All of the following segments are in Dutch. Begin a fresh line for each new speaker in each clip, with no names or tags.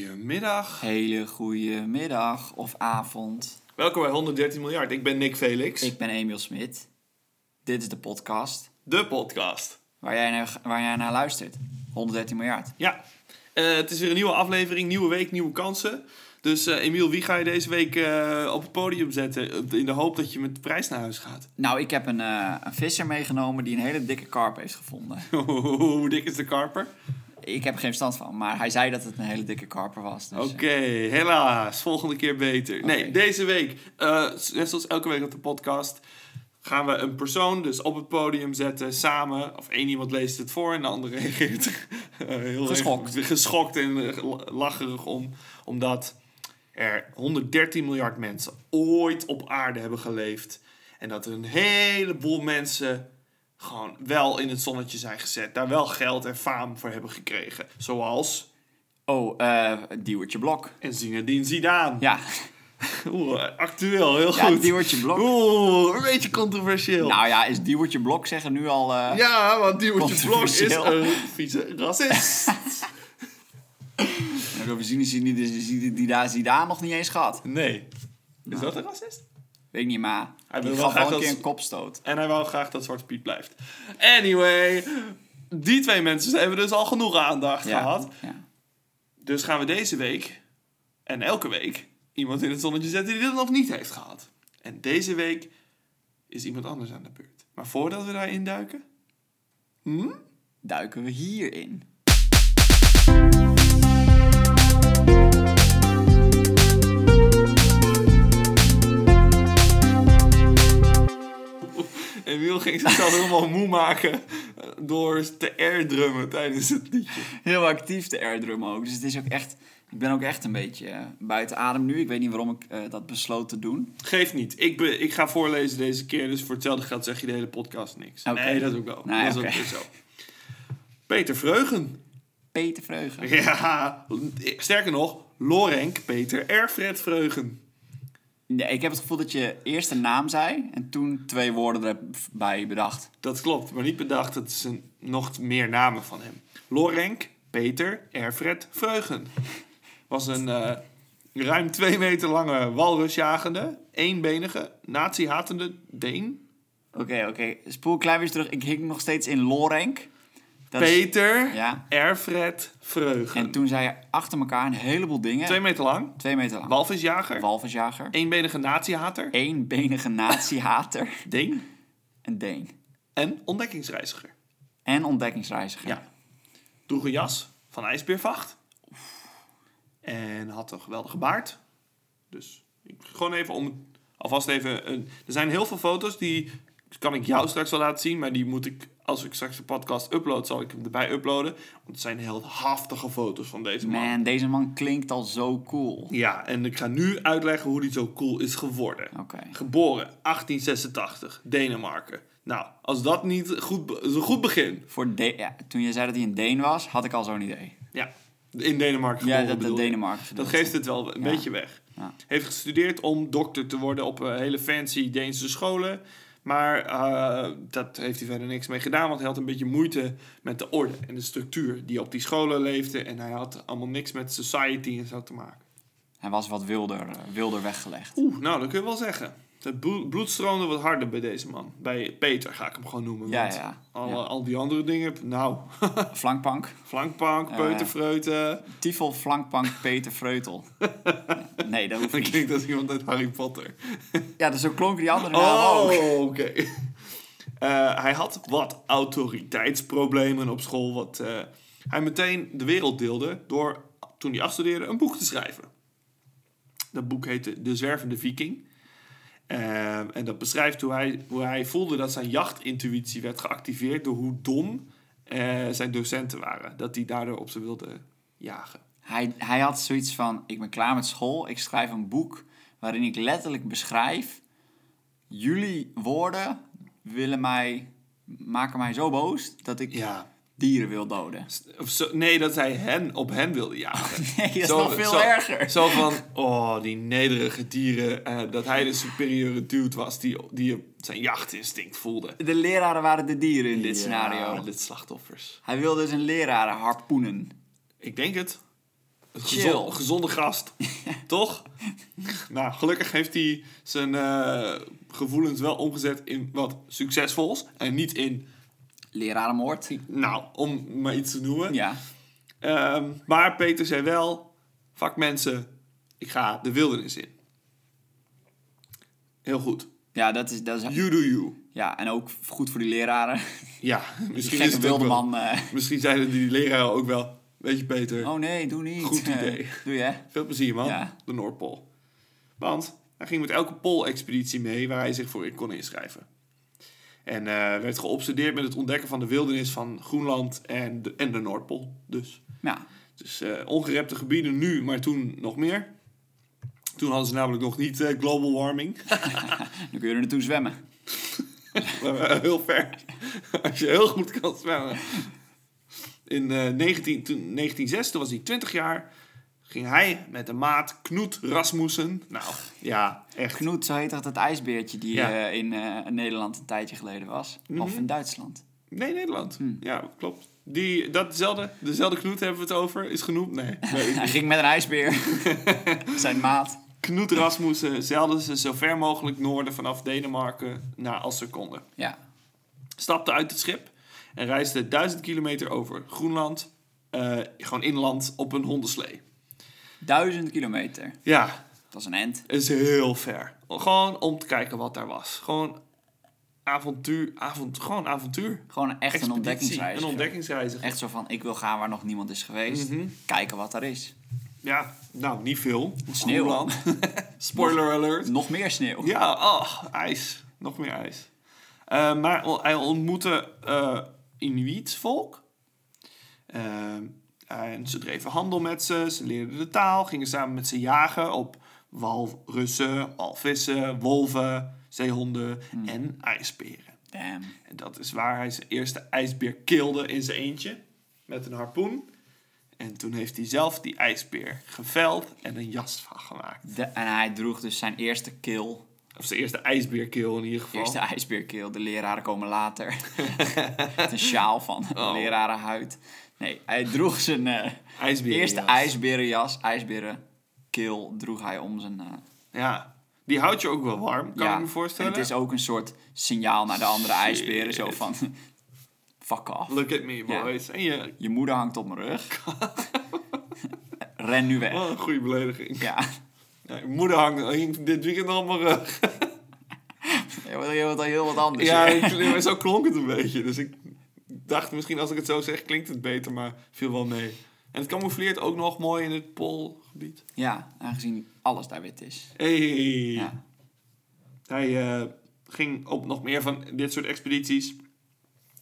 Goedemiddag.
Hele goede middag of avond.
Welkom bij 113 miljard. Ik ben Nick Felix.
Ik ben Emiel Smit. Dit is de podcast
De podcast.
waar jij naar, waar jij naar luistert. 113 miljard.
Ja, Eh, het is weer een nieuwe aflevering, nieuwe week, nieuwe kansen. Dus eh Emiel, wie ga je deze week eh, op het podium zetten op- in de hoop dat je met de prijs naar huis gaat?
Nou, ik heb een, eh, een visser meegenomen die een hele dikke karp heeft gevonden.
Hoe dik is de karper?
Ik heb er geen verstand van, maar hij zei dat het een hele dikke karper was. Dus, eh,
Oké, helaas. Volgende keer beter. Nee,
Oké.
deze week, eh, net zoals elke week op de podcast, gaan we een persoon dus op het podium zetten samen. Of één iemand leest het voor en de andere reageert eh, heel
Geschokt.
erg geschokt en eh, lacherig om. Omdat er 113 miljard mensen ooit op aarde hebben geleefd. En dat er een heleboel mensen gewoon wel in het zonnetje zijn gezet. Daar wel geld en faam voor hebben gekregen. Zoals
Oh, eh Diewertje Blok.
en Zinedine Zidane.
Ja,
Oeh, actueel, heel
ja
goed.
Diewertje Blok.
Oeh, een beetje controversieel.
Nou ja, is Diewertje Blok zeggen nu al... eh,
ja, want Diewertje Blok is
Controversieel.
een vieze racist.
nou, We zien die, die, die, die, die, daar- die daar nog niet eens gehad.
nee. Is dat een racist?
Weet ik niet, maar
Hij wil
die
wel
gaf
graag
wel
dat-
een keer een kopstoot.
En hij wou graag dat Zwarte Piet blijft. Anyway, die twee mensen hebben dus al genoeg aandacht gehad.
ja.
Dus gaan we deze week en elke week iemand in het zonnetje zetten die dat nog niet heeft gehad. En deze week is iemand anders aan de beurt. Maar voordat we daarin duiken... Hm?
Duiken we hierin.
Emiel ging zichzelf helemaal moe maken eh, door te airdrummen tijdens het liedje.
Heel actief de airdrum ook. Dus het is ook echt... Ik ben ook echt een beetje eh, buiten adem nu. Ik weet niet waarom ik eh, dat besloot te doen.
Geeft niet. Ik, be- ik ga voorlezen deze keer, dus voor hetzelfde geld zeg je de hele podcast niks.
Oké.
Nee, dat ook wel.
Nee,
dat is ook
oké.
weer zo. Peter Vreugen.
Peter Vreugen.
Ja, sterker nog, Lorenk Peter Erfred Vreugen.
Nee, ik heb het gevoel dat je eerst een naam zei en toen twee woorden erbij bedacht.
Dat klopt, maar niet bedacht. Het is een, nog meer namen van hem. Lorenk Peter Erfred Vreugen. Was een eh, ruim twee meter lange walrusjagende, eenbenige, nazi-hatende Deen.
Oké, oké. Spoel een klein beetje terug. Ik hing nog steeds in Lorenk. Dat is-
Peter
Ja.
Erfred Vreugen.
En toen zei je achter elkaar een heleboel dingen.
Twee
Twee,
meter lang,
meter lang.
walvisjager,
Walvisjager.
eenbenige nazi-hater,
Eenbenige natiehater.
Deen
Een Deen.
en ontdekkingsreiziger.
En ontdekkingsreiziger.
Ja. Droeg een jas van ijsbeervacht. En had een geweldige baard. Dus ik, gewoon even om... Alvast even... Een, er zijn heel veel foto's die... Kan ik jou straks wel laten zien. Maar die moet ik... Als ik straks de podcast upload, zal ik hem erbij uploaden. Want het zijn heel haftige foto's van deze man.
Man, deze man klinkt al zo cool.
Ja, en ik ga nu uitleggen hoe die zo cool is geworden.
Oké.
Geboren 1886, Denemarken. Nou, als dat niet goed, be- is een goed begin.
Voor de ja, toen je zei dat hij een Deen was, had ik al zo'n idee.
Ja, in Denemarken
Ja,
geboren
dat de
bedoel ik.
Denemarken.
Dat geeft het wel een
Ja.
beetje weg.
Ja.
Heeft gestudeerd om dokter te worden op eh, hele fancy Deense scholen. Maar eh, dat heeft hij verder niks mee gedaan, want hij had een beetje moeite met de orde en de structuur die op die scholen leefde. En hij had allemaal niks met society en zo te maken.
Hij was wat wilder, eh, wilder weggelegd.
Oeh, nou, dat kun je wel zeggen. Het bloed, bloed stroomde wat harder bij deze man. Bij Peter ga ik hem gewoon noemen.
Ja,
want
ja.
Al,
ja.
al die andere dingen, nou,
Flankpank.
flankpank,
Ja,
peuterfreuten.
Tiefel Flankpank Peter Vreutel. nee, dat hoeft
Dat
niet.
klinkt als iemand uit Harry Potter.
Ja, dus zo klonken die andere namen
Oh,
ook.
oké. Eh, hij had wat autoriteitsproblemen op school. Wat eh, hij meteen de wereld deelde door, toen hij afstudeerde, een boek te schrijven. Dat boek heette De Zwervende Viking. Eh, en dat beschrijft hoe hij, hoe hij voelde dat zijn jachtintuïtie werd geactiveerd door hoe dom eh, zijn docenten waren. Dat die daardoor op ze wilden jagen.
Hij, hij had zoiets van, ik ben klaar met school. Ik schrijf een boek waarin ik letterlijk beschrijf... Jullie woorden willen mij, maken mij zo boos dat ik
Ja.
dieren wil doden.
Of zo, nee, dat hij hen op hen wilde jagen.
Oh, Nee, dat is nog veel erger.
Zo van, oh, die nederige dieren. eh, dat hij de superieure dude was die, die zijn jachtinstinct voelde.
De leraren waren de dieren in dit
Ja,
scenario. dus
Dit slachtoffers.
Hij wilde zijn leraren harpoenen.
Ik denk het. Een
Chill.
gezon- gezonde gast. Toch? Nou, gelukkig heeft hij zijn eh, gevoelens wel omgezet in wat succesvols. En niet in,
Lerarenmoord.
nou, om maar iets te noemen.
Ja.
Ehm, maar Peter zei wel, fuck mensen, ik ga de wildernis in. Heel goed.
Ja, dat is, dat is...
You do you.
Ja, en ook goed voor die leraren.
Ja,
Die
misschien is
gekke
het ook
wilde
wel-
man. eh,
Misschien zeiden die leraren ook wel, weet je Peter,
Oh nee, doe niet.
Goed
Eh,
idee.
doe je, hè?
Veel plezier, man.
Ja.
De Noordpool. Want hij ging met elke Pool-expeditie mee waar hij zich voor in kon inschrijven. En eh, werd geobsedeerd met het ontdekken van de wildernis van Groenland en de, en de Noordpool. Dus,
Ja.
dus eh, ongerepte gebieden nu, maar toen nog meer. Toen hadden ze namelijk nog niet eh, global warming.
Dan kun je er naartoe zwemmen.
Maar, eh, heel ver. Als je heel goed kan zwemmen. In eh 19, toen, 1906, toen was hij 20 jaar, ging hij met de maat Knoet Rasmussen. Nou, ja, echt.
Knoet, zo heet dat het ijsbeertje die
Ja. Mhm.
eh, in eh, Nederland een tijdje geleden was. Of in Duitsland.
Nee, Nederland. Ja, klopt. Die, datzelfde, dezelfde Knoet hebben we het over, is genoemd. Nee, nee.
Hij ging met een ijsbeer. Zijn maat.
Knoet Rasmussen zeilde ze zo ver mogelijk noorden vanaf Denemarken naar als ze konden.
Ja.
stapte uit het schip en reisde 1000 kilometer over Groenland, eh, gewoon inland, op een hondenslee.
Duizend kilometer.
Ja,
Dat is een end.
is heel ver. Gewoon om te kijken wat daar was. Gewoon avontuur, avont, gewoon avontuur.
Gewoon echt
Expeditie,
een ontdekkingsreis.
Een ontdekkingsreiziger.
Echt zo van, ik wil gaan waar nog niemand is geweest.
Mhm.
Kijken wat er is.
Ja, nou, niet veel.
Sneeuw.
Groenland. Spoiler alert.
Nog meer sneeuw.
Ja, oh, ijs. Nog meer ijs. Eh, maar on- hij ontmoette eh Inuitvolk. Eh, en ze dreven handel met ze, ze leerden de taal, gingen samen met ze jagen op walrussen, walvissen, wolven, zeehonden en ijsberen.
Damn.
En dat is waar hij zijn eerste ijsbeer kilde in zijn eentje met een harpoen. En toen heeft hij zelf die ijsbeer geveld en een jas van gemaakt.
De- en hij droeg dus zijn eerste kill.
Of zijn eerste ijsbeerkeel in ieder geval.
Eerste ijsbeerkeel. De leraren komen later. Met een sjaal van de
Oh.
lerarenhuid. Nee, hij droeg zijn eh,
Ijsbeer.
eerste ijsberenjas. Ijsberenkeel droeg hij om zijn... eh,
Ja. Die houdt je ook wel warm, kan ik me voorstellen.
en het is ook een soort signaal naar de andere
Shit.
ijsberen. Zo van, fuck off.
Look at me, boys. En je...
Je moeder hangt op mijn rug. Ren nu weg.
Wat een goede belediging.
Ja,
Ja, je moeder hangt hing dit weekend eh, op mijn rug.
je wil heel wat, heel wat anders.
Ja,
hè?
ik- zo klonk het een beetje. Dus ik dacht misschien als ik het zo zeg klinkt het beter, maar viel wel mee. En het camoufleert ook nog mooi in het poolgebied.
ja, aangezien alles daar wit is.
Hey.
Ja.
Hij eh, ging op nog meer van dit soort expedities.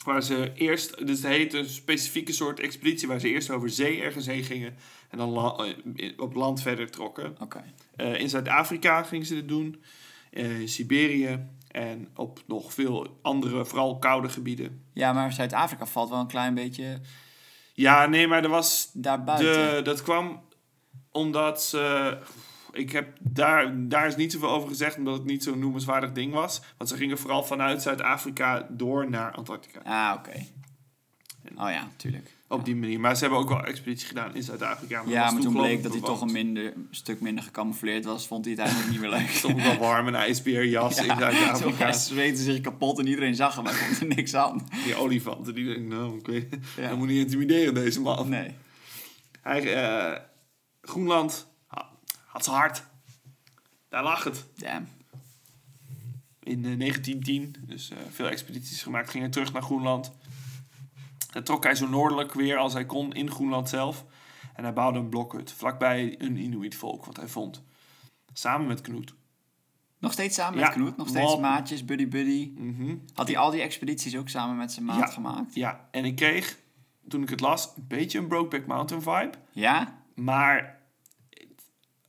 Waar ze eerst, dus het heet een specifieke soort expeditie, waar ze eerst over zee ergens heen gingen en dan la- eh, in- op land verder trokken.
Oké.
Eh, in Zuid-Afrika gingen ze dit doen, eh, in Siberië en op nog veel andere, vooral koude gebieden.
Ja, maar Zuid-Afrika valt wel een klein beetje
Ja, nee, maar er was
daarbuiten.
de, dat kwam omdat ze. Ik heb daar, daar is niet zoveel over gezegd, omdat het niet zo'n noemenswaardig ding was. Want ze gingen vooral vanuit Zuid-Afrika door naar Antarctica.
Ah, oké. Oh ja, tuurlijk.
Op die manier. Maar ze hebben ook wel expeditie gedaan in Zuid-Afrika. dat was
Ja, maar toen
geloof
bleek
ik
dat hij toch
bewoond.
een, minder, een stuk minder gecamoufleerd was. Vond hij het eigenlijk niet meer leuk.
Stond wel warm een ijsbeerjas in
Zo,
Zuid-Afrika.
hij zweette zich kapot en iedereen zag hem, maar hij vond er niks aan.
Die olifanten, die denken, nou, ik weet,
Ja.
hij moet niet intimideren, deze man.
Nee.
Hij, eh, Groenland ha- had ze hard. Daar lag het.
Damn.
in eh, 1910. Dus eh, veel expedities gemaakt. Ging hij terug naar Groenland. Dan trok hij zo noordelijk weer als hij kon in Groenland zelf. En hij bouwde een blokhut vlakbij een Inuitvolk, wat hij vond. Samen met Knoet.
Nog steeds samen
Ja,
met Knoet, nog steeds
want-
maatjes, buddy-buddy.
Mhm.
Had hij al die expedities ook samen met zijn maat
Ja.
gemaakt?
Ja, en ik kreeg, toen ik het las, een beetje een Brokeback Mountain vibe.
Ja?
Maar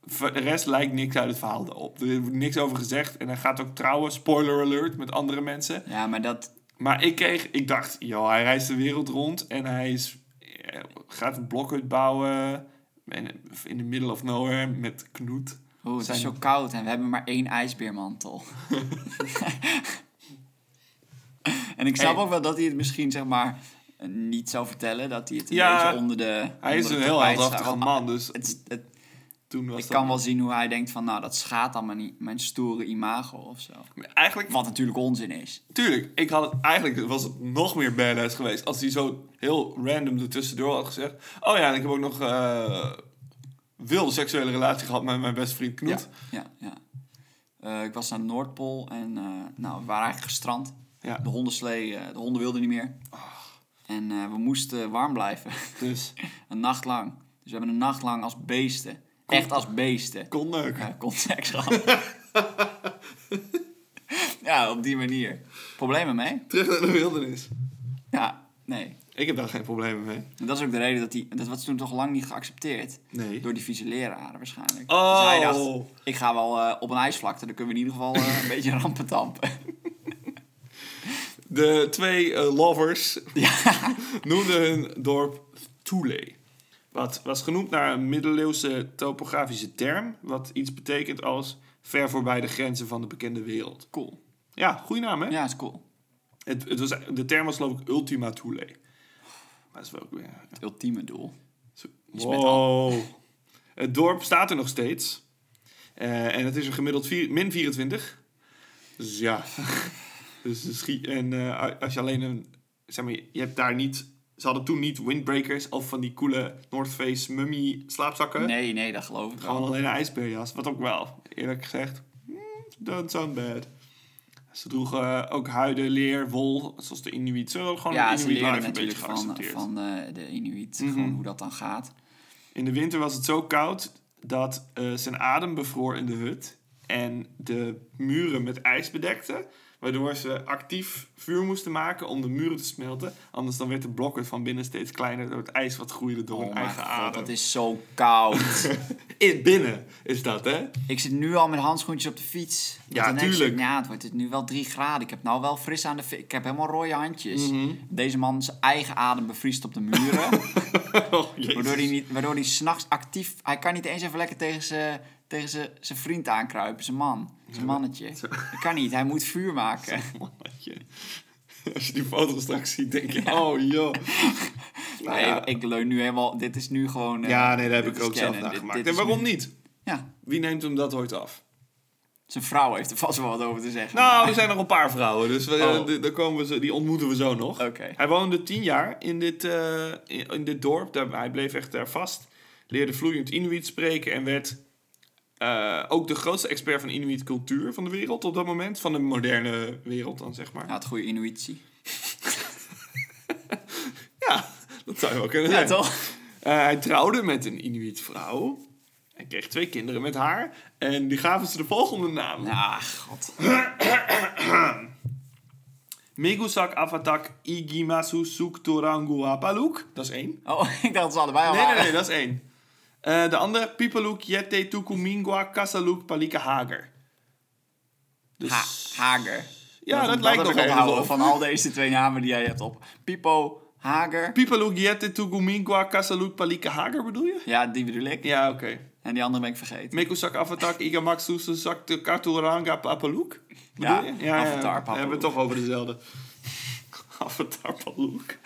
voor de rest lijkt niks uit het verhaal op. Er wordt niks over gezegd. En hij gaat ook trouwen, spoiler alert, met andere mensen.
Ja, maar dat...
Maar ik kreeg, ik dacht, joh, hij reist de wereld rond en hij is, eh, gaat een blokhut bouwen en in the middle of nowhere met Knoet.
Oeh, het
Zijn-
is zo koud en we hebben maar één ijsbeermantel. en ik snap
Hey.
ook wel dat hij het misschien, zeg maar... eh, niet zou vertellen dat hij het een
Ja,
beetje onder de.
Hij is
onder
een
het
heel
tapijt
heldhaftige
zou-
man, dus
Het, het,
toen was
ik
dat...
kan wel zien hoe hij denkt van, nou, dat schaadt dan mijn, mijn stoere imago of zo.
Eigenlijk,
Wat natuurlijk onzin is.
tuurlijk, ik had het, eigenlijk was het nog meer badass geweest als hij zo heel random ertussendoor had gezegd... Oh ja, en ik heb ook nog eh, wilde seksuele relatie gehad met mijn beste vriend Knoet.
Ja, ja. Eh, ik was naar de Noordpool en eh, nou, we waren eigenlijk gestrand.
Ja.
De hondenslee, eh, de honden wilden niet meer. En eh, we moesten warm blijven.
Dus,
een nacht lang. Dus we hebben een nacht lang als beesten. Echt als beesten.
kon leuk.
Ja, contact gehad. ja, op die manier. Problemen mee?
Terug naar de wildernis.
Ja, nee.
Ik heb daar geen problemen mee.
En dat is ook de reden dat die... Dat was toen toch lang niet geaccepteerd.
Nee.
Door die vieze leraren waarschijnlijk.
Oh.
Dus hij dacht, ik ga wel eh, op een ijsvlakte. Dan kunnen we in ieder geval eh, een beetje rampen tampen.
De twee eh, lovers noemden hun dorp Thule. Wat was genoemd naar een middeleeuwse topografische term, wat iets betekent als ver voorbij de grenzen van de bekende wereld.
Cool.
Ja, goede naam hè?
Ja, is cool.
Het, het was, de term was geloof ik Ultima Thule. Maar dat is wel ook weer...
Het ultieme doel.
zo-
met
Wow. Het dorp staat er nog steeds. Eh, en het is er gemiddeld vier- min 24. Dus ja. dus de schi- en eh, als je alleen een... Zeg maar, je hebt daar niet... Ze hadden toen niet windbreakers of van die coole North Face mummy slaapzakken.
Nee, nee, dat geloof ik wel.
Gewoon alleen een ijsbeerjas. Wat ook wel, eerlijk gezegd. mm, Don't sound bad. Ze droegen eh, ook huiden, leer, wol, zoals de Inuit. Ze hadden gewoon
Ja,
de
ze
Inuit
leren
life een beetje Mhm.
natuurlijk van,
geaccepteerd.
van eh, de Inuit. Gewoon hoe dat dan gaat.
In de winter was het zo koud dat eh, zijn adem bevroor in de hut. En de muren met ijs bedekte. Waardoor ze actief vuur moesten maken om de muren te smelten. Anders dan werd de blokken van binnen steeds kleiner door het ijs wat groeide door hun
Oh mijn
eigen
god,
adem.
dat is zo koud.
In binnen is dat, hè?
Ik zit nu al met handschoentjes op de fiets. Want
Ja,
dan denk ik,
tuurlijk.
Ja, het wordt het nu wel 3 graden. Ik heb nou wel fris aan de... fi- Ik heb helemaal rode handjes.
Mhm.
Deze man zijn eigen adem bevriest op de muren.
Oh, jezus.
waardoor hij niet- waardoor hij s'nachts actief... Hij kan niet eens even lekker tegen zijn tegen zijn- zijn vriend aankruipen. Zijn man. Zijn mannetje. Dat kan niet. Hij moet vuur maken.
Mannetje. Als je die foto straks ziet, denk je, oh joh. Nou
Nee,
ja.
ik leun nu helemaal... Dit is nu gewoon... eh,
Ja, nee, daar heb
dit
ik
is
ook zelf
kennen.
naar
Dit-
gemaakt.
dit
En
is
waarom
nu-
niet?
Ja.
Wie neemt hem dat ooit af?
Zijn vrouw heeft er vast wel wat over te zeggen.
Nou, er zijn nog een paar vrouwen, dus we,
Oh.
eh, d- daar komen we, zo- die ontmoeten we zo nog.
Oké.
Hij woonde tien jaar in dit, eh, in, in dit dorp. Daar, hij bleef echt daar vast. Leerde vloeiend Inuit spreken en werd eh, ook de grootste expert van Inuit cultuur van de wereld op dat moment. Van de moderne wereld dan, zeg maar.
Ja, het goede Inuitie.
Ja, dat zou je wel kunnen
Ja,
zijn.
toch?
Eh, hij trouwde met een Inuit vrouw. Hij kreeg twee kinderen met haar. En die gaven ze de volgende naam.
Ah, god.
Megusak Avatak Igimasu Suktoranguapaluk. Dat is één.
Oh, ik dacht dat ze allebei al
Nee, nee,
waren.
nee, dat is één. Eh, de andere, Pipaluk Yete Tukumingwa Kasaluk Palika Hager. Dus,
Ha- Hager.
Ja, dat
dat
lijkt
heb
nog
ik onthouden
ergens op.
van al deze twee namen die jij hebt op. Pipo, Hager.
Pipaluk Yete Tukumingwa Kasaluk Palika Hager bedoel je?
Ja, die bedoel ik.
Ja, oké.
En die andere ben ik vergeten.
Mekusak Avatak Igamaksu Susak Katuranga Papaluk.
Ja,
Bedoel je? ja, ja,
Avatar
We hebben
Papaluk.
het toch over dezelfde. Avatar Papaluk.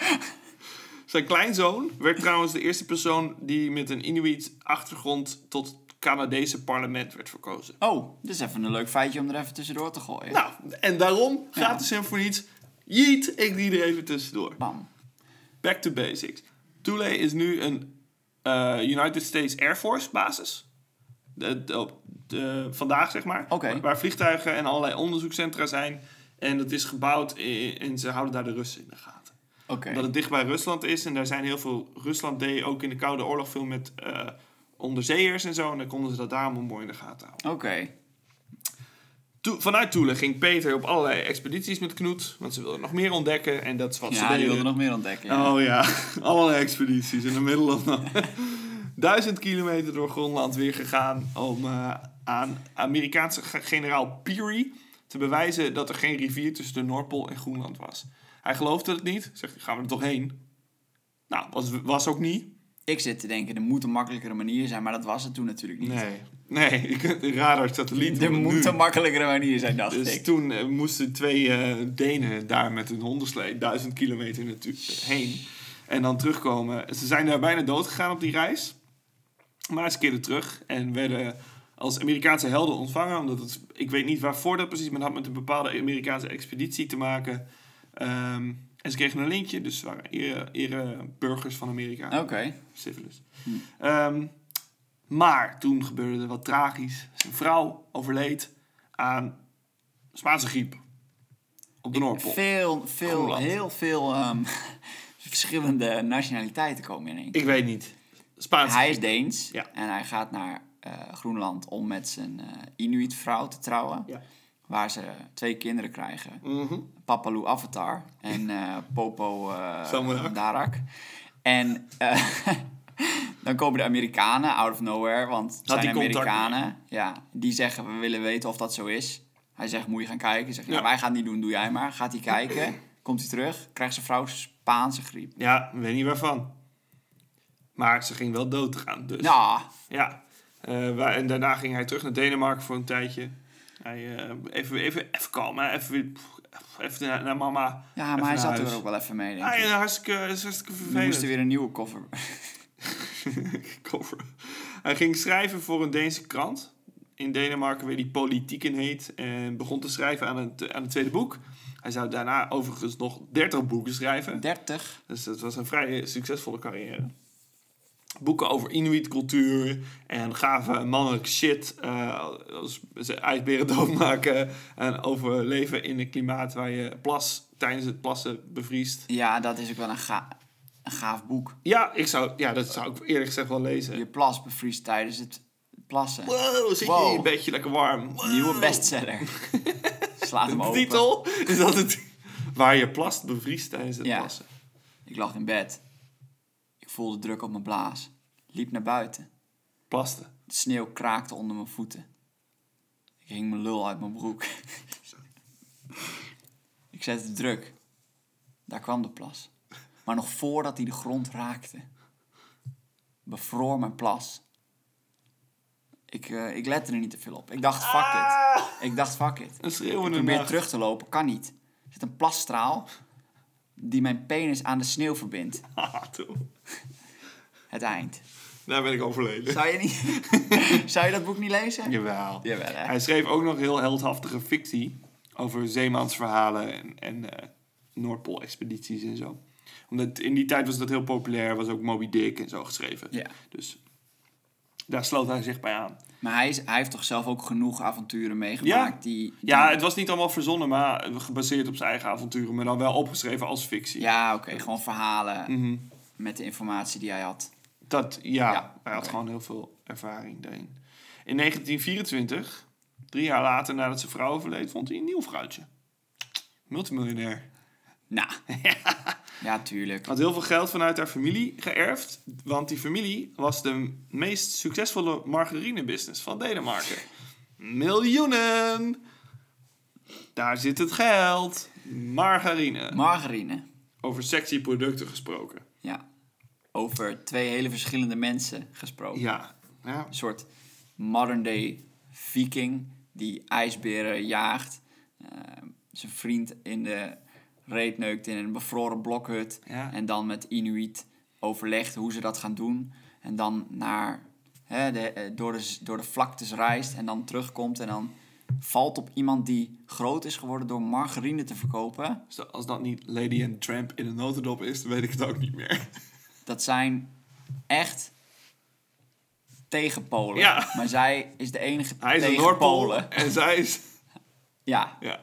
Zijn kleinzoon werd trouwens de eerste persoon die met een Inuit achtergrond tot het Canadese parlement werd verkozen.
Oh, dit is even een leuk feitje om er even tussendoor te gooien.
Nou, en daarom gratis en voor niets. Jeet, ik die er even tussendoor.
Bam.
Back to basics. Thule is nu een eh, United States Air Force basis. De, de- op de- vandaag, zeg maar.
Oké.
Waar vliegtuigen en allerlei onderzoekscentra zijn. En dat is gebouwd i- en ze houden daar de Russen in de gaten.
Oké.
Dat het dicht bij Rusland is en daar zijn heel veel... Rusland deed ook in de Koude Oorlog veel met eh, onderzeeërs en zo. En dan konden ze dat daarom mooi in de gaten houden.
Oké.
Toe- vanuit Toelen ging Peter op allerlei expedities met Knoet. Want ze wilden nog meer ontdekken en dat is wat ze
Ja,
deden.
die wilde nog meer ontdekken. ja.
Oh ja, allerlei expedities in de middelen. Duizend kilometer door Groenland weer gegaan om eh, aan Amerikaanse ge- generaal Peary te bewijzen dat er geen rivier tussen de Noordpool en Groenland was. Hij geloofde het niet, zegt gaan we er toch heen? Nou, was, was ook niet.
Ik zit te denken, er moet een makkelijkere manier zijn, maar dat was het toen natuurlijk niet.
Nee. Nee, je kunt een radar satelliet
er
doen
moet
nu.
een makkelijkere manier zijn, dacht
Dus
ik.
toen eh, moesten twee eh, Denen daar met hun hondenslee duizend kilometer natu- heen. En dan terugkomen. Ze zijn daar bijna dood gegaan op die reis. Maar ze keerden terug en werden als Amerikaanse helden ontvangen. Omdat het, ik weet niet waarvoor dat precies, maar het had met een bepaalde Amerikaanse expeditie te maken. Ehm, en ze kregen een lintje, dus ze waren ere, ere burgers van Amerika.
Oké.
Syphilis. Ehm, maar toen gebeurde er wat tragisch. Zijn vrouw overleed aan Spaanse griep. Op de Noordpool.
Veel, veel,
Groenland.
heel veel ehm, verschillende nationaliteiten komen in één keer.
Ik weet niet. Spaanse
Hij is Deens
Ja.
en hij gaat naar eh, Groenland om met zijn eh, Inuit-vrouw te trouwen.
Ja.
Waar ze twee kinderen krijgen.
Mhm.
Papalu Avatar en eh, Popo eh,
Samarak.
Darak. En eh, dan komen de Amerikanen out of nowhere, want het
Had
zijn
hij contact
Amerikanen. Ja, die zeggen we willen weten of dat zo is. Hij zegt moet je gaan kijken. Ik Zeg, ja,
Ja.
wij gaan het niet doen, doe jij maar. Gaat hij kijken, komt hij terug, krijgt zijn vrouw Spaanse griep.
Ja, ik weet niet waarvan. Maar ze ging wel dood gaan. Dus.
Nou,
Ja. Eh, wa- en daarna ging hij terug naar Denemarken voor een tijdje. Hij, eh, even, even, even kalm, hè. Even, pff, even naar, naar mama.
ja,
Even
maar hij
naar
zat er
huis.
ook wel even mee. Denk
Hij
ik.
is hartstikke, is hartstikke
We
vervelend.
moesten weer een nieuwe koffer.
cover. Hij ging schrijven voor een Deense krant. In Denemarken, waar die Politieken heet. En begon te schrijven aan het, aan het tweede boek. Hij zou daarna overigens nog 30 boeken schrijven.
30.
Dus dat was een vrij eh, succesvolle carrière. Boeken over Inuit-cultuur en gave mannelijke shit. eh, als ze ijsberen doodmaken. En over leven in een klimaat waar je plas tijdens het plassen bevriest.
Ja, dat is ook wel een, ga een gaaf boek.
Ja, ik zou, ja, dat zou ik eerlijk gezegd wel lezen.
Je plas bevriest tijdens het plassen.
Wow, zit je
Wow.
in je bedje lekker warm. Wow.
Nieuwe bestseller. Slaat hem
De
open.
titel is dat het. Waar je plast, bevriest tijdens het
Ja.
plassen.
Ik lag in bed. Ik voelde druk op mijn blaas. Liep naar buiten.
Plasten.
De sneeuw kraakte onder mijn voeten. Ik hing mijn lul uit mijn broek. ik zette druk. Daar kwam de plas. Maar nog voordat hij de grond raakte, bevroor mijn plas. Ik, eh, ik lette er niet te veel op. Ik dacht, fuck
Ah,
it. Ik dacht, fuck it.
een schreeuwende
probeer
nacht.
terug te lopen, kan niet. Er zit een plasstraal die mijn penis aan de sneeuw verbindt.
Ah, toe.
Het eind.
Daar ben ik overleden.
Zou je, niet... Zou je dat boek niet lezen?
Jawel.
Jawel, hè?
Hij schreef ook nog heel heldhaftige fictie over zeemansverhalen en, en eh, Noordpool-expedities en zo. Omdat in die tijd was dat heel populair, was ook Moby Dick en zo geschreven.
Ja.
Dus daar sloot hij zich bij aan.
Maar hij, is, hij heeft toch zelf ook genoeg avonturen meegemaakt
Ja.
die...
Ja, het was niet allemaal verzonnen, maar gebaseerd op zijn eigen avonturen, maar dan wel opgeschreven als fictie.
Ja, oké. Gewoon verhalen
Mhm.
met de informatie die hij had.
Dat, ja,
Ja,
hij had
oké.
gewoon heel veel ervaring daarin. In 1924, drie jaar later nadat zijn vrouw overleed, vond hij een nieuw vrouwtje. Multimiljonair.
Nou. ja, tuurlijk.
Had heel veel geld vanuit haar familie geërfd, want die familie was de meest succesvolle margarinebusiness van Denemarken. Miljoenen! Daar zit het geld. Margarine.
Margarine.
Over sexy producten gesproken.
Ja. Over twee hele verschillende mensen gesproken.
Ja. ja.
Een soort modern day viking die ijsberen jaagt. eh, zijn vriend in de reet neukt in een bevroren blokhut.
Ja.
En dan met Inuit overlegt hoe ze dat gaan doen. En dan naar, hè, de, eh, door, de, z- door de vlaktes reist en dan terugkomt. En dan valt op iemand die groot is geworden door margarine te verkopen.
Dus Als dat niet Lady and Tramp in een notendop is, dan weet ik het ook niet meer.
Dat zijn echt tegenpolen.
Ja.
Maar zij is de enige
Hij is een Noordpool
tegenpolen.
en zij is...
Ja,
Ja.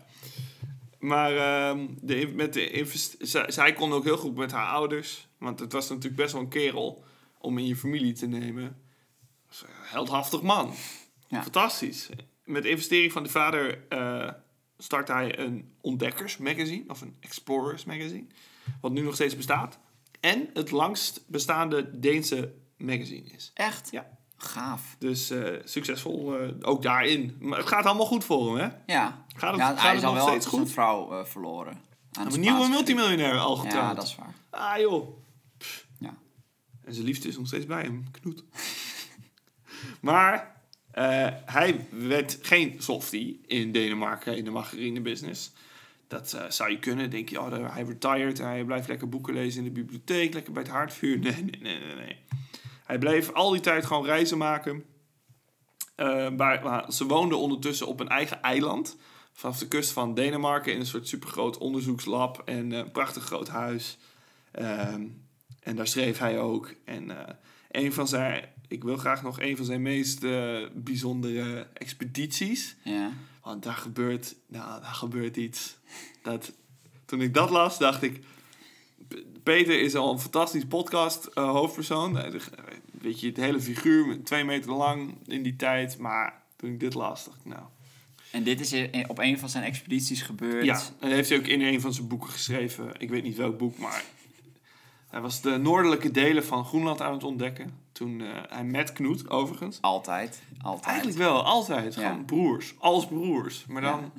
Maar ehm, de, met de invest- zij, zij kon ook heel goed met haar ouders. Want het was natuurlijk best wel een kerel om in je familie te nemen. Dat is een heldhaftig man.
Ja.
Fantastisch. Met de investering van de vader eh startte hij een ontdekkersmagazine. Of een explorers magazine. Wat nu nog steeds bestaat. En het langst bestaande Deense magazine is.
echt?
Ja.
Gaaf.
Dus eh, succesvol eh, ook daarin. Maar het gaat allemaal goed voor hem, hè?
Ja.
Gaat het-
ja,
gaat
hij
het
is al
nog
wel
steeds
zijn
goed?
vrouw eh, verloren. Aan de
Een nieuwe
Spaanse
multimiljonair al
griep.
getrouwd.
Ja, dat is waar.
Ah joh.
Ja.
En zijn liefde is nog steeds bij hem, Knoet. maar eh, hij werd geen softie in Denemarken in de margarinebusiness. Dat eh, zou je kunnen. Denk je, oh, daar- hij retired, hij blijft lekker boeken lezen in de bibliotheek, lekker bij het haardvuur. Nee, nee, nee, nee. nee. Hij bleef al die tijd gewoon reizen maken. Eh, maar, maar ze woonden ondertussen op een eigen eiland. Vanaf de kust van Denemarken in een soort supergroot onderzoekslab en eh, een prachtig groot huis. Ehm, en daar schreef hij ook. En eh, een van zijn, ik wil graag nog een van zijn meest eh, bijzondere expedities.
Ja.
Want daar gebeurt, nou, daar gebeurt iets. Dat, toen ik dat las, dacht ik... P- Peter is al een fantastisch podcast eh, hoofdpersoon. Eh, de- eh, Weet je, het hele figuur, met twee meter lang in die tijd. Maar toen ik dit las, dacht ik, nou...
En dit is in- op een van zijn expedities gebeurd.
Ja, en dat heeft hij ook in een van zijn boeken geschreven. Ik weet niet welk boek, maar... Hij was de noordelijke delen van Groenland aan het ontdekken. Toen eh, hij met Knoet, overigens.
Altijd. Altijd.
Eigenlijk wel, altijd.
Ja.
Gewoon broers. Als broers. Maar dan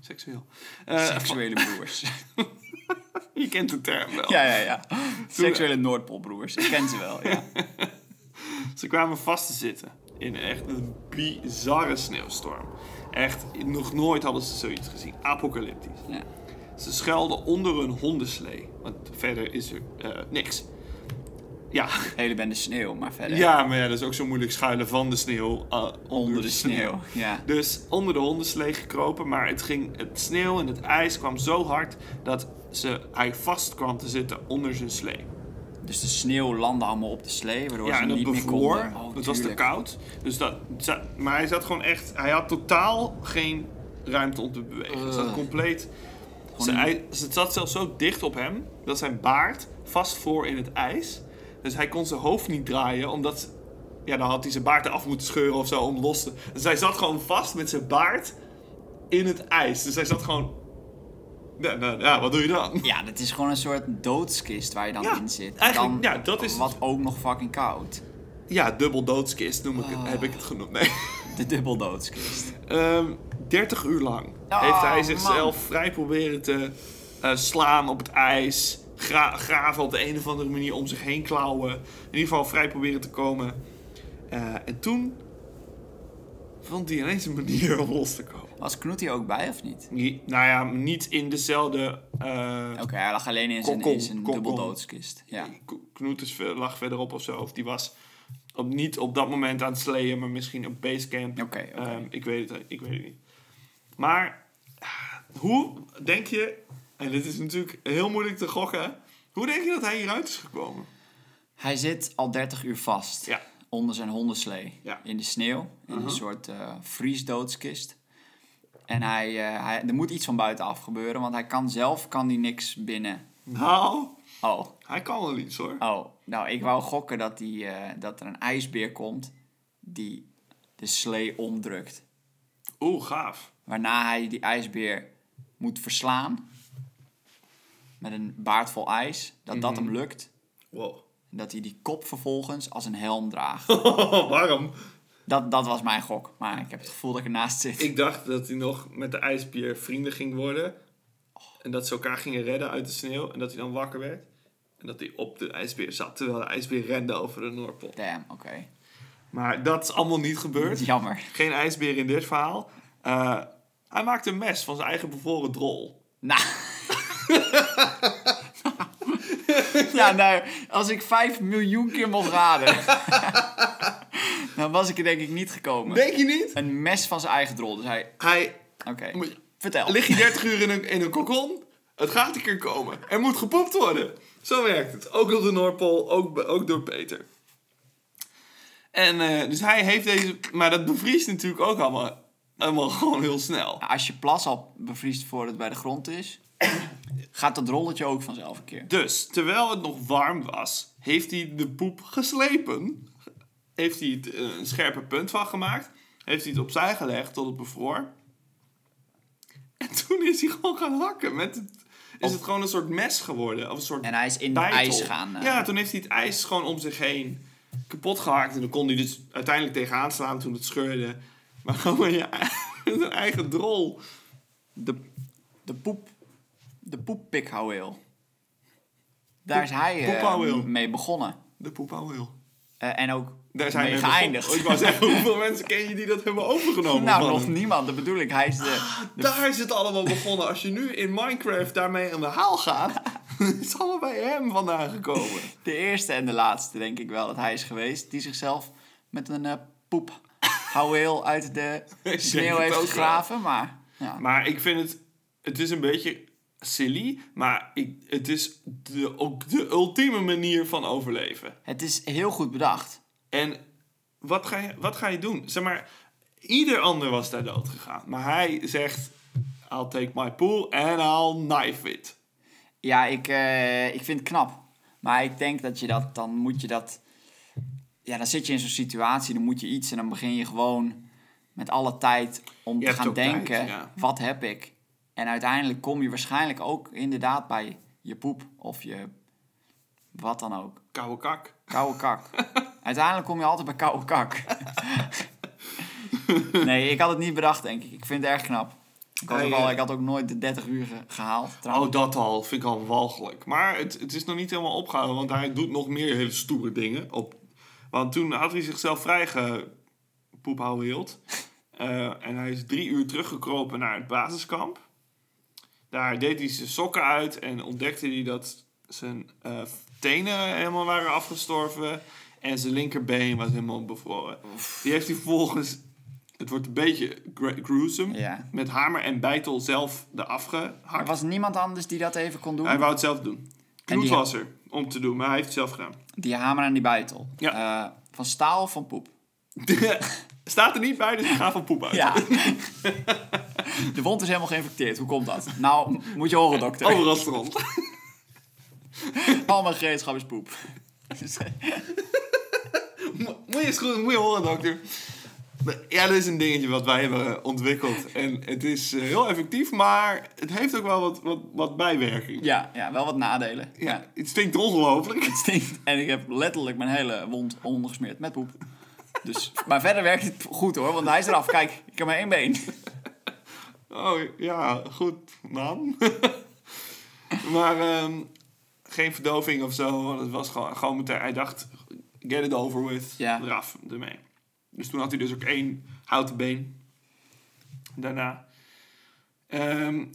seksueel. Eh,
Seksuele broers.
Je kent de term wel.
ja, ja, ja. Seksuele Noordpoolbroers. Ik ken ze wel, ja.
Ze kwamen vast te zitten in echt een bizarre sneeuwstorm. Echt, nog nooit hadden ze zoiets gezien. Apocalyptisch.
ja.
Ze schuilden onder een hondenslee. Want verder is er eh, niks. Ja.
Hele bende sneeuw, maar verder.
ja, maar ja, dat is ook zo moeilijk schuilen van de sneeuw. eh, onder,
Onder de sneeuw. Ja.
Dus onder de hondenslee gekropen, maar het, ging, het sneeuw en het ijs kwam zo hard dat ze, hij vast kwam te zitten onder zijn slee.
Dus de sneeuw landde allemaal op de slee, waardoor
Ja,
ze
en
niet
dat
meer
bevroor.
konden. Oh,
het was te
tuurlijk.
koud. Dus dat, za- maar hij zat gewoon echt... Hij had totaal geen ruimte om te bewegen. Hij zat
Ugh.
compleet... Zijn,
een-
ij- het zat zelfs zo dicht op hem... dat zijn baard vast voor in het ijs. Dus hij kon zijn hoofd niet draaien... omdat... Ja, dan had hij zijn baard eraf moeten scheuren of zo om los te... Dus hij zat gewoon vast met zijn baard in het ijs. Dus hij zat gewoon... Ja, nou, ja wat doe je dan?
Ja, dat is gewoon een soort doodskist waar je dan
Ja,
in zit. En
eigenlijk-
dan,
ja, dat is het.
Wat ook nog fucking koud.
Ja, dubbel doodskist noem ik het,
Ah.
heb ik het genoemd. Nee.
De dubbel doodskist.
Ehm 30 uur lang
Oh,
heeft hij zichzelf
man.
vrij proberen te eh, slaan op het ijs. Gra- graven op de een of andere manier om zich heen klauwen. In ieder geval vrij proberen te komen. Eh, en toen vond hij ineens een manier om los te komen.
Was Knoet hier ook bij of niet?
Die- nou ja, niet in dezelfde... eh,
Oké, hij lag alleen in zijn,
Kokon,
in zijn
kokon.
dubbel doodskist. Ja.
K- Knoet is, ver- lag verderop of zo. Of die was op, niet op dat moment aan het sleeën, maar misschien op basecamp.
Oké, oké.
Ehm, ik, weet het, ik weet het niet. Maar ah, hoe denk je, en dit is natuurlijk heel moeilijk te gokken, hoe denk je dat hij hieruit is gekomen?
Hij zit al 30 uur vast.
Ja.
Onder zijn hondenslee.
Ja. Uh-huh.
In de sneeuw. In een soort eh vriesdoodskist. En hij, eh, hij, er moet iets van buitenaf gebeuren, want hij kan zelf kan die niks binnen.
Nou,
Oh,
hij kan wel iets hoor.
oh. Nou, ik wou gokken dat, die, eh, dat er een ijsbeer komt die de slee omdrukt. Ah.
Oeh, gaaf.
Waarna hij die ijsbeer moet verslaan. Met een baard vol ijs. Dat dat hem lukt.
Wow.
En dat hij die kop vervolgens als een helm draagt.
Waarom?
Dat, dat was mijn gok, maar ik heb het gevoel dat ik ernaast zit.
Ik dacht dat hij nog met de ijsbier vrienden ging worden. En dat ze elkaar gingen redden uit de sneeuw. En dat hij dan wakker werd. En dat hij op de ijsbeer zat, terwijl de ijsbeer rende over de Noordpool.
Damn, oké.
Maar dat is allemaal niet gebeurd.
Jammer.
Geen ijsbeer in dit verhaal. Eh, hij maakte een mes van zijn eigen bevroren drol.
Nou. ja, nou, als ik 5 miljoen keer mocht raden, dan was ik er denk ik niet gekomen.
Denk je niet?
Een mes van zijn eigen drol. Dus hij.
Hij
Oké. Vertel.
lig je 30 uur in een, in een kokon. Het gaat een keer komen. Er moet gepoept worden. Zo werkt het. Ook op de Noordpool, ook, be- ook door Peter. En eh, dus hij heeft deze... Maar dat bevriest natuurlijk ook allemaal, allemaal gewoon heel snel.
Nou, Als je plas al bevriest voordat het bij de grond is, gaat dat rolletje ook vanzelf een keer.
Dus, terwijl het nog warm was, heeft hij de poep geslepen. Heeft hij het eh, een scherpe punt van gemaakt. Heeft hij het opzij gelegd tot het bevroor. En toen is hij gewoon gaan hakken. Met het, is het gewoon een soort mes geworden. Of een soort
En hij is in het
beitel.
ijs gaan. eh,
Ja, toen heeft hij het ijs gewoon om zich heen kapot gehakt. En dan kon hij dus uiteindelijk tegenaan slaan toen het scheurde. Maar gewoon met, je, met een eigen drol.
De, de poep. De poeppikhoudeel. Daar is hij eh,
poephouweel.
mee begonnen.
De poepouwheel.
Eh, en ook
Daar zijn
mee
we
geëindigd.
Oh, Ik wou zeggen, hoeveel mensen ken je die dat hebben overgenomen?
nou,
van
nog
hem?
niemand. Dat bedoel ik. Hij is de...
Daar is het allemaal begonnen. Als je nu in Minecraft daarmee aan de haal gaat, is het allemaal bij hem vandaan gekomen.
De eerste en de laatste, denk ik wel, dat hij is geweest. Die zichzelf met een eh poep houweel uit de
denk
sneeuw
het
heeft
ook wel.
gegraven. Maar ja.
Maar ik vind het, het is een beetje silly, maar ik, het is de, ook de ultieme manier van overleven.
het is heel goed bedacht.
En wat ga je, wat ga je doen? Zeg maar, ieder ander was daar dood gegaan. Maar hij zegt, I'll take my pool and I'll knife it.
Ja, ik, eh, ik vind het knap. Maar ik denk dat je dat, dan moet je dat... Ja, dan zit je in zo'n situatie, dan moet je iets en dan begin je gewoon met alle tijd om te
hebt
gaan
ook tijd,
denken,
ja.
wat heb ik? En uiteindelijk kom je waarschijnlijk ook inderdaad bij je poep of je wat dan ook.
Koude kak.
Koude kak. Uiteindelijk kom je altijd bij koude kak. nee, ik had het niet bedacht, denk ik. Ik vind het erg knap. Ik had, ook,
Nee,
al,
eh.
ik had ook nooit de 30 uur ge- gehaald, trouwens.
Oh, dat al. Vind ik al walgelijk. Maar het, het is nog niet helemaal opgehouden, want hij doet nog meer hele stoere dingen. Op. Want toen had hij zichzelf vrijgepoephouden hield. Eh, en hij is drie uur teruggekropen naar het basiskamp. Daar deed hij zijn sokken uit en ontdekte hij dat zijn eh, tenen helemaal waren afgestorven. En zijn linkerbeen was helemaal bevroren. Die heeft hij vervolgens, het wordt een beetje gru- gruesome,
Ja.
met hamer en bijtel zelf eraf
Er
gehakt.
was niemand anders die dat even kon doen.
Hij wou het zelf doen.
En
Knoet
die-
was er om te doen, maar hij heeft het zelf gedaan.
Die hamer aan die buitel.
Ja.
Eh, van staal of van poep?
Staat er niet bij, dus ik ga van poep uit.
Ja. de wond is helemaal geïnfecteerd. Hoe komt dat? Nou, m- moet je horen, dokter.
Overal stront.
Al mijn gereedschap is poep.
Mo- moet je eens goed, moet je horen, dokter. Ja, dat is een dingetje wat wij hebben eh, ontwikkeld. En het is eh, heel effectief, maar het heeft ook wel wat, wat, wat bijwerking.
ja, ja, wel wat nadelen.
Ja, het stinkt ongelooflijk.
Het stinkt. En ik heb letterlijk mijn hele wond ondergesmeerd met poep. Dus, maar verder werkt het goed hoor, want hij is eraf. Kijk, ik heb maar één been.
Oh, ja, goed, man. maar ehm, geen verdoving of zo. want Het was gewoon, gewoon meteen... Hij dacht, get it over with.
Ja.
Eraf, ermee. Dus toen had hij dus ook één houten been. Daarna. Ehm,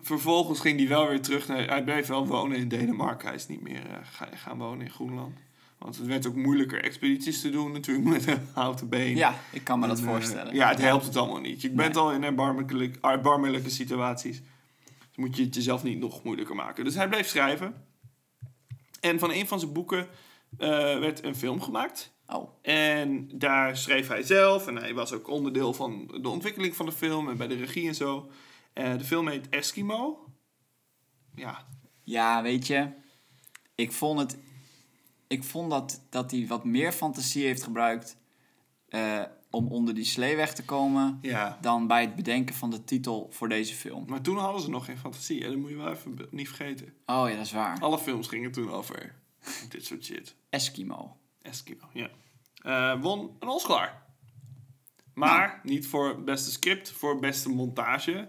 vervolgens ging hij wel weer terug naar... Hij bleef wel wonen in Denemarken. Hij is niet meer eh, ga- gaan wonen in Groenland. Want het werd ook moeilijker expedities te doen natuurlijk met een houten been.
Ja, ik kan me dat
En, eh,
voorstellen.
ja, het helpt het allemaal niet. Je bent
Nee.
al in eh, erbarmelijke, erbarmelijke situaties. Dus moet je het jezelf niet nog moeilijker maken. Dus hij bleef schrijven. En van een van zijn boeken eh, werd een film gemaakt.
Oh,
En daar schreef hij zelf. En hij was ook onderdeel van de ontwikkeling van de film. En bij de regie en zo. Eh, de film heet Eskimo. Ja,
ja, weet je. Ik vond het... Ik vond dat, dat hij wat meer fantasie heeft gebruikt... eh, om onder die slee weg te komen...
ja.
dan bij het bedenken van de titel voor deze film.
Maar toen hadden ze nog geen fantasie. Hè? Dat moet je wel even be- niet vergeten.
Oh ja, dat is waar.
Alle films gingen toen over dit soort shit.
Eskimo.
Eskimo, ja. Eh, won een Oscar. Maar niet voor beste script, voor beste montage.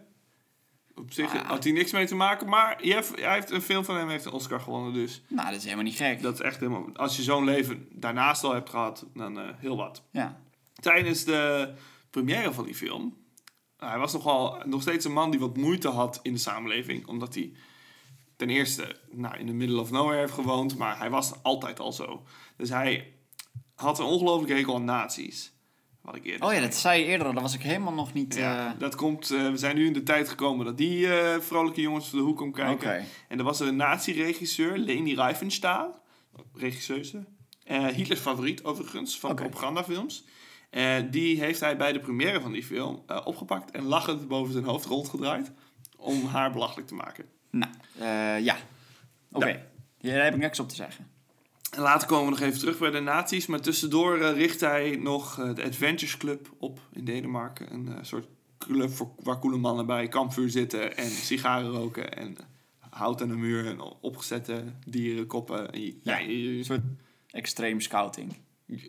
Op zich
Ah.
had hij niks mee te maken, maar je hebt- hij heeft, een film van hem heeft een Oscar gewonnen. Dus
Nou, dat is helemaal niet gek.
dat is echt helemaal... Als je zo'n leven daarnaast al hebt gehad, dan eh, heel wat.
Ja.
Tijdens de première van die film... eh, Hij was nogal, nog steeds een man die wat moeite had in de samenleving. Omdat hij ten eerste nou, in de middle of nowhere heeft gewoond, maar hij was altijd al zo. Dus hij had een ongelooflijke hekel aan nazi's. Wat ik eerder
Oh ja,
zei.
dat zei je eerder al. Dat was ik helemaal nog niet...
Ja,
eh,
dat komt, eh, we zijn nu in de tijd gekomen dat die eh, vrolijke jongens van de hoek om kijken.
Oké.
En er was een nazi-regisseur, Leni Riefenstahl, regisseuse. eh, Hitlers favoriet overigens, van
Oké.
propagandafilms. Eh, die heeft hij bij de première van die film eh, opgepakt en lachend boven zijn hoofd rondgedraaid. Om haar belachelijk te maken.
Nou, eh, ja. Oké. Ja, daar heb ik niks op te zeggen.
En later komen we nog even terug bij de nazi's. Maar tussendoor eh, richt hij nog eh, de Adventures Club op in Denemarken. Een eh, soort club voor, waar koele mannen bij kampvuur zitten en sigaren roken. En eh, hout aan de muur en opgezette dierenkoppen. En je-
Ja.
ja, je-
Een soort extreem scouting.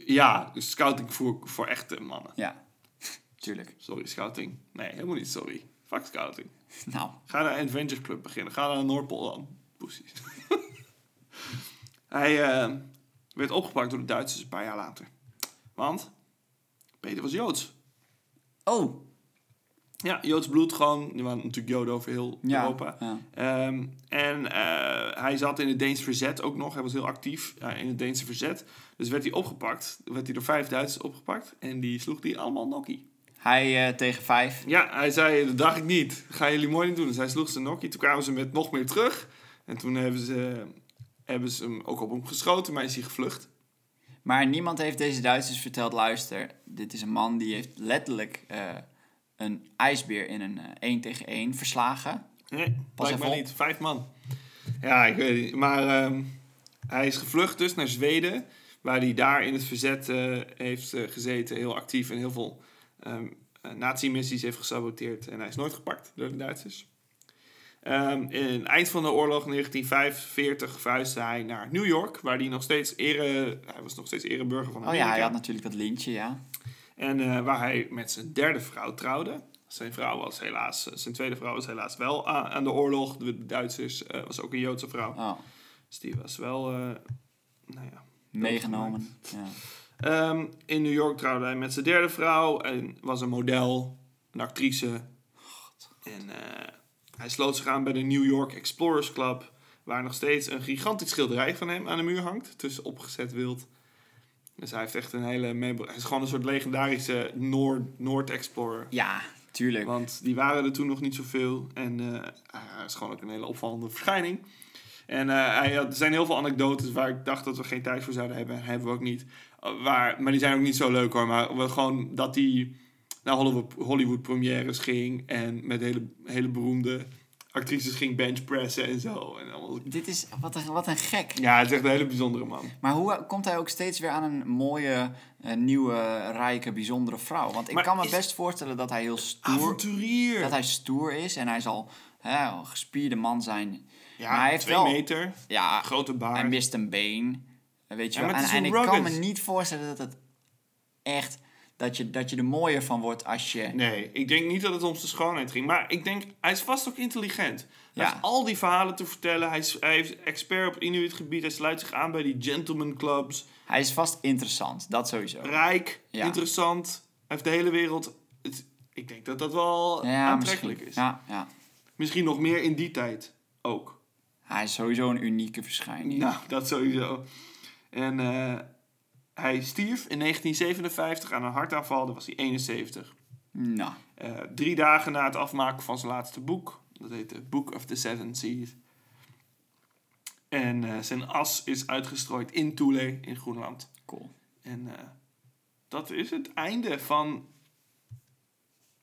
ja, scouting voor, voor echte mannen.
Ja, tuurlijk.
Sorry, scouting. Nee, helemaal niet sorry. Fuck scouting.
Nou,
Ga naar een Adventure Club beginnen. Ga naar een Noordpool dan. Poesies. Hij eh, werd opgepakt door de Duitsers een paar jaar later. Want Peter was Joods.
Oh,
Ja, Joods bloed gewoon. Er waren natuurlijk Joden over heel
ja.
Europa.
ja.
Ehm, en eh, hij zat in het Deens verzet ook nog. Hij was heel actief eh, in het Deense verzet. Dus werd hij opgepakt. Werd hij door vijf Duitsers opgepakt. En die sloeg die allemaal nokkie.
Hij eh, tegen vijf.
Ja, hij zei, dat dacht ik niet. Dat gaan jullie mooi niet doen. Dus hij sloeg ze nokkie. Toen kwamen ze met nog meer terug. En toen hebben ze, hebben ze hem ook op hem geschoten. Maar is hij gevlucht.
Maar niemand heeft deze Duitsers verteld, luister, dit is een man die heeft letterlijk eh, een ijsbeer in een eh, één tegen één verslagen.
Nee, blijkbaar
even op.
niet. Vijf man. Ja, ik weet het niet. Maar ehm, hij is gevlucht dus naar Zweden. Waar hij daar in het verzet eh, heeft eh, gezeten. Heel actief en heel veel ehm eh, nazi-missies heeft gesaboteerd. En hij is nooit gepakt door de Duitsers. Ehm, in het eind van de oorlog, 1945, verhuisde hij naar New York. Waar hij nog steeds ere... Hij was nog steeds ereburger van
Oh
Amerika.
ja, hij had natuurlijk dat lintje, ja.
En eh, waar hij met zijn derde vrouw trouwde. Zijn, vrouw was helaas, eh, zijn tweede vrouw was helaas wel a- aan de oorlog. De Duitsers eh, was ook een Joodse vrouw.
Oh,
Dus die was wel. eh, nou ja.
meegenomen. Ja.
Ehm, in New York trouwde hij met zijn derde vrouw. En was een model, een actrice. En eh, hij sloot zich aan bij de New York Explorers Club. Waar nog steeds een gigantisch schilderij van hem aan de muur hangt. Tussen opgezet wild. Dus hij heeft echt een hele... memor- Hij is gewoon een soort legendarische Noord- Noord-explorer.
ja, tuurlijk.
Want die waren er toen nog niet zoveel. En eh, hij is gewoon ook een hele opvallende verschijning. En eh, hij had, er zijn heel veel anekdotes waar ik dacht dat we geen tijd voor zouden hebben. En hebben we ook niet. Eh, waar, maar die zijn ook niet zo leuk hoor. Maar we- gewoon dat hij naar Hollywood, Hollywood premières ging. En met hele, hele beroemde actrices ging benchpressen en zo. En allemaal.
Dit is, wat een, wat een gek.
Ja, het is echt een hele bijzondere man.
Maar hoe eh, komt hij ook steeds weer aan een mooie, eh, nieuwe, rijke, bijzondere vrouw? Want ik
Maar
kan me
is-
best voorstellen dat hij heel stoer, dat
Avonturier!
hij stoer is. En hij zal hè, een gespierde man zijn.
Ja,
maar hij heeft
twee
wel-
meter.
Ja,
Grote baard.
Hij mist een been. Weet je
Ja,
wel.
maar
En,
het is
en ik
wel
kan me
rugged.
niet voorstellen dat het echt... Dat je, dat je er mooier van wordt als je...
Nee, ik denk niet dat het om zijn schoonheid ging. Maar ik denk, hij is vast ook intelligent. Hij
Ja.
heeft al die verhalen te vertellen. Hij is, hij is expert op Inuit gebied. Hij sluit zich aan bij die gentleman clubs.
Hij is vast interessant. Dat sowieso.
Rijk,
Ja.
interessant. Hij heeft de hele wereld... het- ik denk dat dat wel aantrekkelijk
misschien.
is.
Ja, ja.
Misschien nog meer in die tijd ook.
Hij is sowieso een unieke verschijning.
Nou, dat sowieso. En eh, hij stierf in 1957 aan een hartaanval. Dan was hij 71.
Nou,
Eh, drie dagen na het afmaken van zijn laatste boek. Dat heet The Book of the Seven Seas. En eh, zijn as is uitgestrooid in Thule in Groenland.
cool.
En eh, dat is het einde van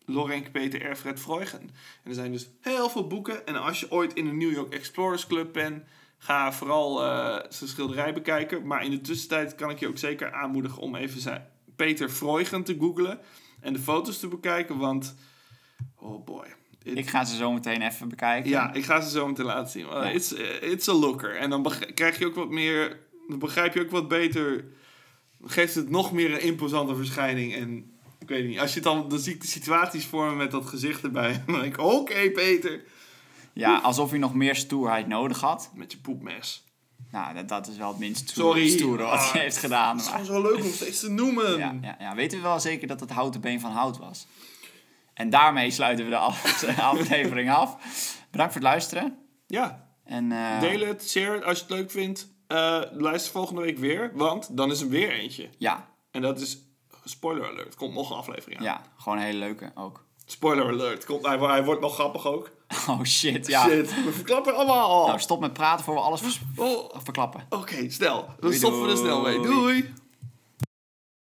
Lorenk Peter Erfred Vreugen. En er zijn dus heel veel boeken. En als je ooit in de New York Explorers Club bent, ga vooral eh, zijn schilderij bekijken. Maar in de tussentijd kan ik je ook zeker aanmoedigen om even zijn Peter Vreugen te googlen en de foto's te bekijken. Want, oh boy. It-
Ik ga ze zo meteen even bekijken.
ja, ik ga ze zo meteen laten zien. Uh,
Ja.
it's, eh, it's a looker. En dan beg- krijg je ook wat meer... Dan begrijp je ook wat beter... Dan geeft het nog meer een imposante verschijning. En ik weet niet, als je het dan... Dan zie ik de situaties voor me met dat gezicht erbij. En dan denk ik, oké Peter.
ja, alsof hij nog meer stoerheid nodig had.
Met je poepmes.
Nou, dat, dat is wel het minst stoer-
Sorry.
stoere wat
Ah,
hij heeft gedaan.
Het is
maar-
gewoon zo leuk om steeds te noemen.
Ja, ja, ja, weten we wel zeker dat het houten been van hout was. En daarmee sluiten we de af- aflevering af. Bedankt voor het luisteren.
Ja,
En eh,
deel het, share het als je het leuk vindt. Eh, luister volgende week weer, want dan is er weer eentje.
Ja,
En dat is... Spoiler alert, komt nog een aflevering aan.
ja, gewoon een hele leuke ook.
Spoiler alert, komt, hij, hij wordt nog grappig ook.
Oh shit, ja.
Shit, we verklappen allemaal al.
Nou, stop met praten voor we alles vers-
Oh,
verklappen.
Oké, snel. Dan
Doei,
stoppen we er snel mee.
doei.
Doei.